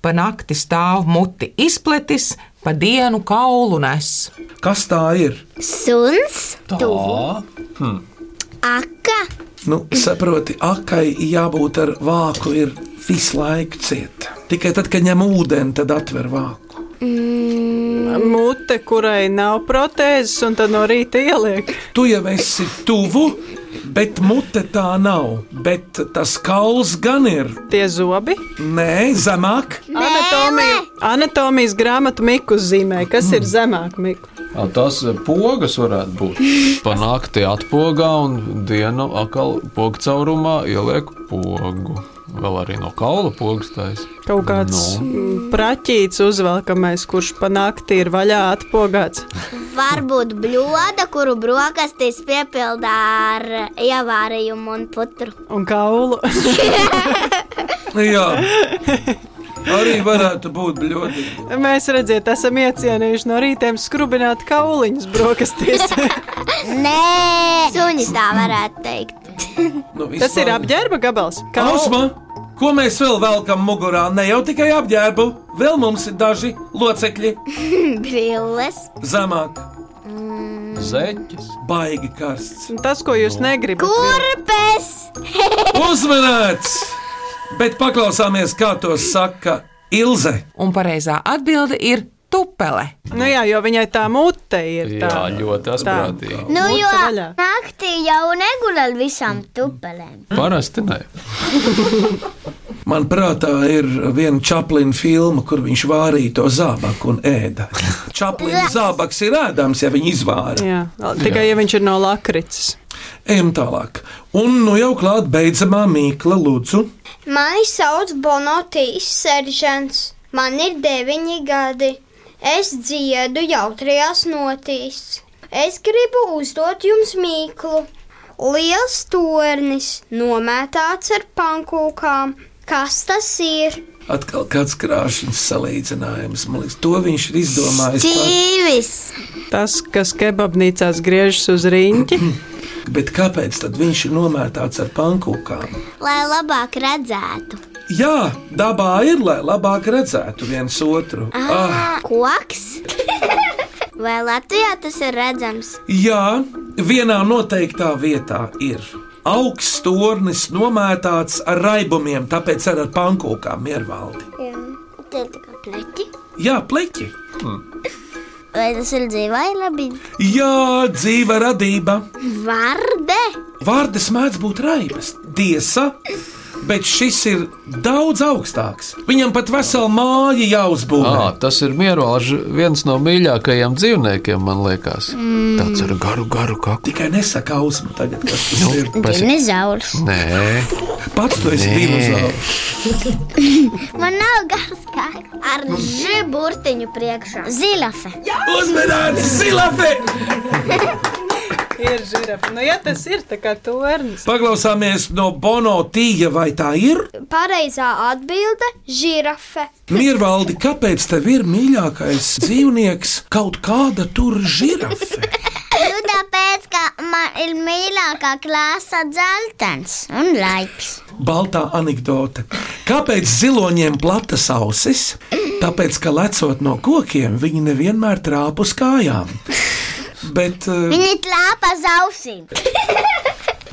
Speaker 13: Pa nakti stāv muti izpletis, pa dienu kaulu nes.
Speaker 3: Kas tā ir?
Speaker 6: Suns,
Speaker 3: Hmm.
Speaker 6: aka,
Speaker 3: Nu, saproti, akai jābūt ar vāku ir visu laiku cieta. Tikai tad, kad ņem ūdeni, tad atver vāku.
Speaker 5: Mute, kurai nav protēzes, un tad no rīta ieliek.
Speaker 3: Tu jau esi tuvu, bet mute tā nav. Bet tas kauls gan ir.
Speaker 5: Tie zobi?
Speaker 3: Nē, zemāk.
Speaker 5: Anatomija. Anatomijas grāmatu Miku zīmē, kas ir zemāk Miku.
Speaker 4: A, Tas eh, pogas varētu būt. Panākti atpogā un dienu atkal pogu caurumā ieliek pogu. Vēl arī no kaula pogas taisa.
Speaker 5: Kaut kāds mm, praķīts uzvelkamais, kurš panākti ir vaļā atpogāts.
Speaker 6: varbūt bļoda, kuru brokastīs piepildā ar ievārījumu un putru.
Speaker 5: Un kaulu.
Speaker 3: Jā, arī varētu būt ļoti.
Speaker 5: Mēs redziet, esam iecienījuši no rītiem skrubināt kauliņus brokastīs.
Speaker 6: Nē, suņi tā varētu teikt.
Speaker 3: Nu,
Speaker 5: Tas ir apģērba gabals.
Speaker 3: Kausma, ko mēs vēl velkam mugurā? Ne jau tikai apģērbu, vēl mums ir daži locekļi
Speaker 6: Brilles.
Speaker 3: zemāk.
Speaker 4: Zeķis.
Speaker 3: Baigi karsts.
Speaker 5: Tas, ko jūs
Speaker 4: Nu.
Speaker 5: negribat.
Speaker 6: Kurpes!
Speaker 3: Uzmanīts! Bet paklausāmies, kā to saka Ilze.
Speaker 13: Un pareizā atbilde ir tupele.
Speaker 5: Nu jā, jo viņai tā mute ir. Tā.
Speaker 4: Jā, ļoti asprātīgi.
Speaker 7: Nu,
Speaker 5: Lūdzu,
Speaker 7: jo
Speaker 5: vaļā.
Speaker 7: naktī jau negulēju ar visām tupelēm.
Speaker 4: Parasti nē.
Speaker 3: Man prātā ir viena čaplina filma, kur viņš vārīja to zābaku un ēda. Čaplina zābaks ir ēdams, ja viņi izvāra.
Speaker 5: Jā, tikai ja viņš ir no lakrits.
Speaker 3: Ejam tālāk. Un nu jau klāt beidzamā mīkla, lūdzu.
Speaker 14: Mani sauc Bonotīs Seržants. Man ir deviņi gadi. Es dziedu jautrajās notīs. Es gribu uzdot jums mīklu. Liels tornis nomētāts ar pankūkām. Kas tas ir?
Speaker 3: Atkal kāds krāšņs salīdzinājums. Man liekas, to viņš ir izdomājis. pats.
Speaker 6: Stīvis!
Speaker 5: Tas, kas kebabnīcās griežas uz rīņķi,
Speaker 3: Bet kāpēc tad viņš ir nomētāts ar pankūkām?
Speaker 6: Lai labāk redzētu.
Speaker 3: Jā, dabā ir, lai labāk redzētu viens otru. Ah,
Speaker 6: Ah, koks? Vai Latvijā tas ir redzams?
Speaker 3: jā, vienā noteiktā vietā ir. Augsts tornis nu, nomētāts ar raibumiem, tāpēc arī ar pankūkām miervaldi.
Speaker 7: Tie ir tikai pleķi.
Speaker 3: Jā, pleķi.
Speaker 7: Vai tas ir dzīvai labi?
Speaker 3: Jā, dzīva radība.
Speaker 6: Varde!
Speaker 3: Vārdas mēdz būt raibas, tiesa, bet šis ir daudz augstāks. Viņam pat vesela māja jāuzbūvē.
Speaker 4: À, tas ir miervalds, viens no mīļākajiem dzīvniekiem, man liekas. Mm. Tāds ar garu, garu kaklu.
Speaker 3: Tikai nesaka ausmu tagad, kas tas ir.
Speaker 7: Dinozaurs.
Speaker 4: Nē,
Speaker 3: Pats tu esi
Speaker 4: Nē.
Speaker 3: dinozaurs.
Speaker 6: Man nav gars kā ar žēburtiņu priekšā.
Speaker 7: Zilafe.
Speaker 3: Uzmanīts, zilafe!
Speaker 5: ir žirafa. Nu, ja tas ir tā kā tornis.
Speaker 3: Paklausāmies no Bono Tīja, vai tā ir?
Speaker 14: Pareizā atbilde - žirafe.
Speaker 3: Miervaldi, kāpēc tev ir mīļākais dzīvnieks kaut kāda tur žirafa?
Speaker 7: Nu, tāpēc, ka man ir mīļākā klāsa dzeltens un laips.
Speaker 3: Baltā anekdote. Kāpēc ziloņiem platas ausis? Tāpēc, ka lecot no kokiem, viņi nevienmēr trāp uz kājām. Bet, eh,
Speaker 7: Viņi klāpa zausīm.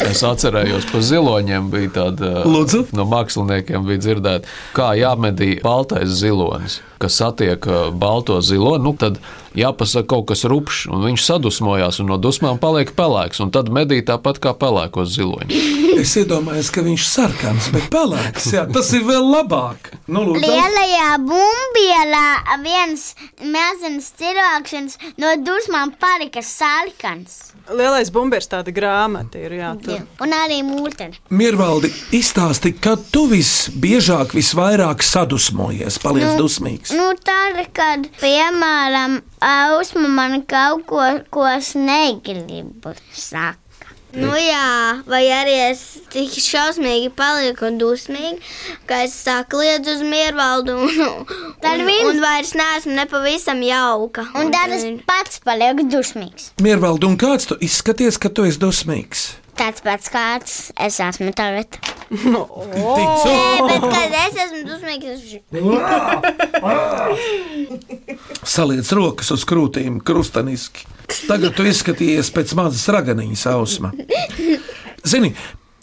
Speaker 4: es atcerējos, pa ziloņiem bija tāda.
Speaker 3: Lūdzu?
Speaker 4: No māksliniekiem bija dzirdēta, kā jāmedī baltais zilonis. kas satiek eh, balto zilo, nu, tad jāpasaka kaut kas rupšs, un viņš sadusmojās, un no dusmām paliek pelēks, un tad medī tāpat kā pelēkos ziloņus.
Speaker 3: Es iedomājos, ka viņš ir sarkans, bet pelēks. Jā, tas ir vēl labāk. Nu, lūdzu,
Speaker 7: Lielajā bumbielā viens mazs cilvēks no dusmām palika sarkans.
Speaker 5: Lielais bumbieris tāda grāmata ir. Jā, tur.
Speaker 7: Un arī mūtene.
Speaker 3: Mirvaldi, izstāsti, kad tu visbiežāk, visvairāk sadusmojies, paliec nu. dusmīgs.
Speaker 7: Nu, tad, kad, piemēram, ausma man kaut ko, ko es negribu sakt.
Speaker 6: Nu jā, vai arī es tik šausmīgi palieku dusmīgi, ka es sāku liedz uz miervaldu un,
Speaker 7: Tad
Speaker 6: un,
Speaker 7: viens-
Speaker 6: un vairs neesmu nepavisam jauka.
Speaker 7: Un tad es pats palieku dusmīgs.
Speaker 3: Mirvaldi, un kāds tu izskaties, ka tu esi dusmīgs?
Speaker 7: Tāds pats kāds es esmu tagad.
Speaker 3: No.
Speaker 6: Nē,
Speaker 3: Oh.
Speaker 6: bet kad es esmu dusmīgs, es
Speaker 3: Saliec rokas uz krūtīm, krustaniski. Tagad tu izskatījies pēc mazas raganiņas ausma. Zini,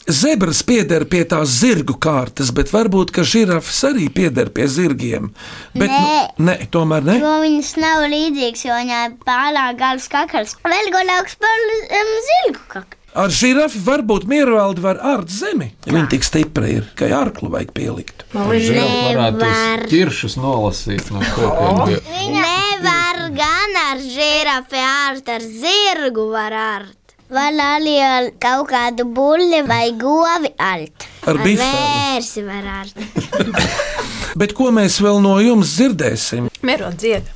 Speaker 3: zebras pieder pie tās zirgu kārtas, bet varbūt ka žirafs arī pieder pie zirgiem. Bet, Nu, nē, tomēr ne.
Speaker 7: Jo viņas nav līdzīgas, jo viņai pārāk garas kakars. Vēl garāks par um, zilgu kaklu.
Speaker 3: Ar žirafi varbūt miervaldi var ārt zemi. Viņa tik stipra ir, ka jārklu vajag pielikt.
Speaker 4: varētu ķiršus nolasīt no kokiem.
Speaker 6: Viņa nevar gan ar žirafi ārt, ar zirgu var ārt.
Speaker 7: Var arī ar kaut kādu buļļu vai govi alt.
Speaker 3: Ar Ar bifeli.
Speaker 7: vērsi var alt.
Speaker 3: Bet ko mēs vēl no jums dzirdēsim?
Speaker 5: Miervalds dzied.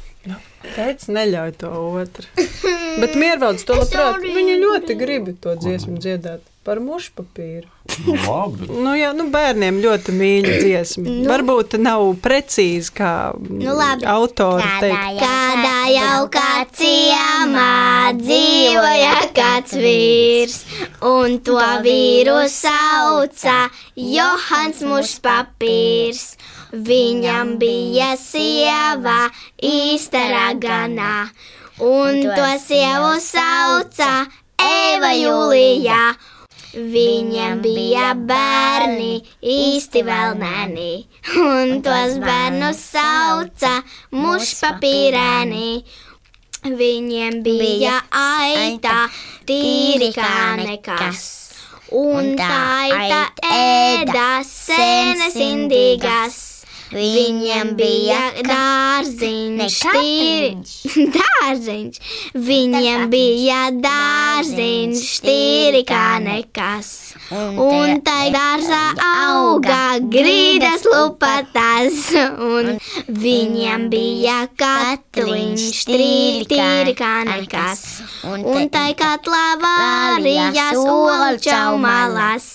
Speaker 5: Teicis, neļauj to otru. Bet miervalds to labprāt. Viņa ļoti grib to dziesmu dziedāt par mušu papīru.
Speaker 4: Labi.
Speaker 5: Nu, jā, nu bērniem ļoti mīļa dziesma. Nu. Varbūt nav precīzi kā
Speaker 6: Nu, labi.
Speaker 5: autori teikt.
Speaker 6: Kādā jaukā ciemā dzīvoja kāds vīrs, un to vīru sauca Johans Mūrs papīrs. Viņam bija sieva īsta raganā, un to sievu sauca Eva Jūlijā. Viņam bija bērni, īsti vēl nani, un tos bērnus sauca mušpapīrēni. Viņiem bija aita, tīri kā nekas. Un tā aita ēda sēnes indīgas. Viņiem bija dārziņš, tīri dārziņš. Viņiem bija dārziņš, tīri kā nekas. Un tā dārzā auga grīdas lupatās, un viņiem bija katliņš, tīri, tīri kā nekas. Un tā katlā vārījās olčau malas.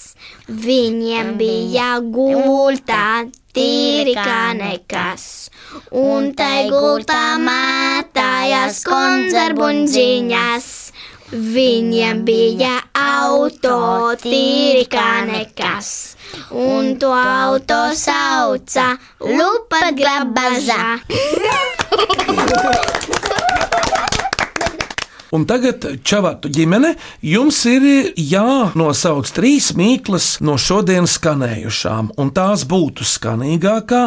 Speaker 6: Viņiem bija gultā, tīri kā nekas. Un tai gultā mētājās konzervbuļģiņas. Viņiem bija auto, tīri kā nekas. Un to auto sauca Lupa Grabažā.
Speaker 3: Un tagad, Čavatu ģimene, jums ir jānosauc trīs mīklas no šodienas skanējušām, un tās būtu skanīgākā,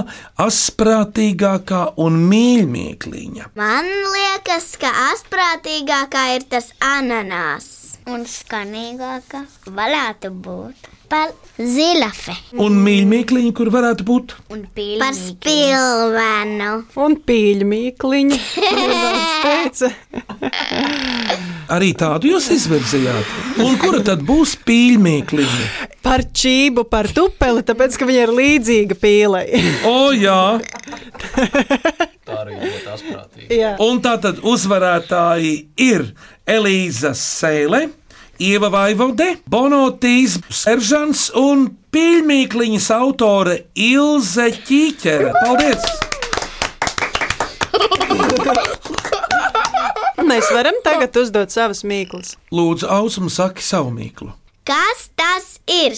Speaker 3: asprātīgākā un mīļākā.
Speaker 6: Man liekas, ka astprātīgākā ir tas ananās.
Speaker 7: Un skanīgāka varētu būt par zilafe.
Speaker 3: Un mīļākā, kur varētu būt?
Speaker 7: Un
Speaker 6: Par spilvenu.
Speaker 5: Un pīļu mīkliņu. Miervalds teica.
Speaker 3: Arī tādu jūs izvirzījāt. Un kura tad būs pīļākā?
Speaker 5: Par čību, par tupeli, tāpēc, ka viņa ir līdzīga pīlai.
Speaker 3: O, jā!
Speaker 4: Tā arī ļoti asprātīgi.
Speaker 5: Jā.
Speaker 3: Un tātad uzvarētāji ir Elīza Sēle, Ieva Vaivode, Bonotīs Seržants un Pīlmīkliņas autore Ilze Ķīķere. Paldies!
Speaker 5: Mēs varam tagad uzdot savas mīklas.
Speaker 3: Lūdzu, ausumu saki savu mīklu.
Speaker 6: Kas tas ir?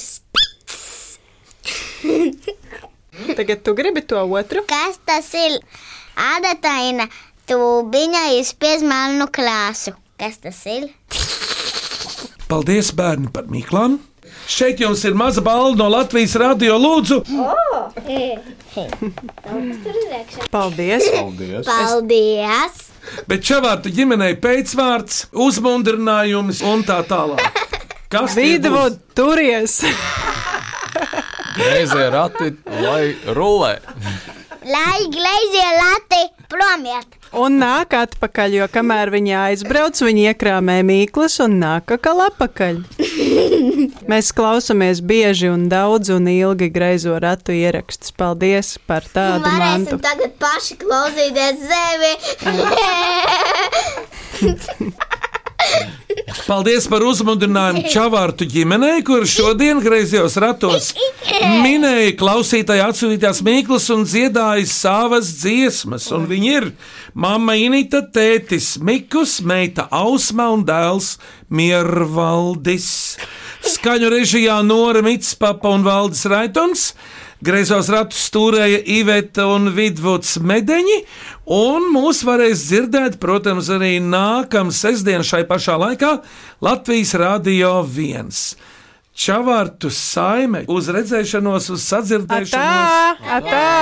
Speaker 5: Tagad tu gribi to otru?
Speaker 7: Kas tas ir? Adataina tūbiņa izspies melnu krāsu. Kas tas ir?
Speaker 3: Paldies, bērni, par mīklām! Šeit jums ir maza balva no Latvijas radio. Lūdzu,
Speaker 5: Paldies!
Speaker 3: Paldies.
Speaker 6: Paldies!
Speaker 3: bet čavārta ģimenei pēcvārds, uzmundrinājums un tā tālāk. Kas
Speaker 5: Vidvud, turies!
Speaker 4: Reizē rati, lai rulē.
Speaker 7: Lai gleizē lati prom iet.
Speaker 5: Un nāk atpakaļ, jo kamēr viņi aizbrauc, viņi iekrāmē mīklas un nāk atkal atpakaļ. Mēs klausāmies bieži un daudz un ilgi graizo ratu ierakstus. Paldies par tādu mantu.
Speaker 6: Varēsim tagad paši klausīties zemi.
Speaker 3: Paldies par uzmundrinājumu Čavārtu ģimenei, kur šodien griezījos ratos. Minēja klausītāja atsūtītās mīklas un dziedāja savas dziesmas. Un viņi ir mamma Inita, tētis Mikus, meita Ausma un dēls Miervaldis. Skaņu režijā Nora Mitspapa un Valdis Raitons. Greizos ratus stūrēja Iveta un Vidvuds Medeņi, un mūs varēs dzirdēt, protams, arī nākamā sestdienā šai pašā laikā Latvijas Rādio 1. Čavārtu saime uz redzēšanos, uz sadzirdēšanos.
Speaker 5: Atā, atā!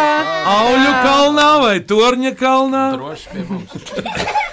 Speaker 3: Auļu kalnā vai Torņa kalnā?
Speaker 4: Droši pie mums.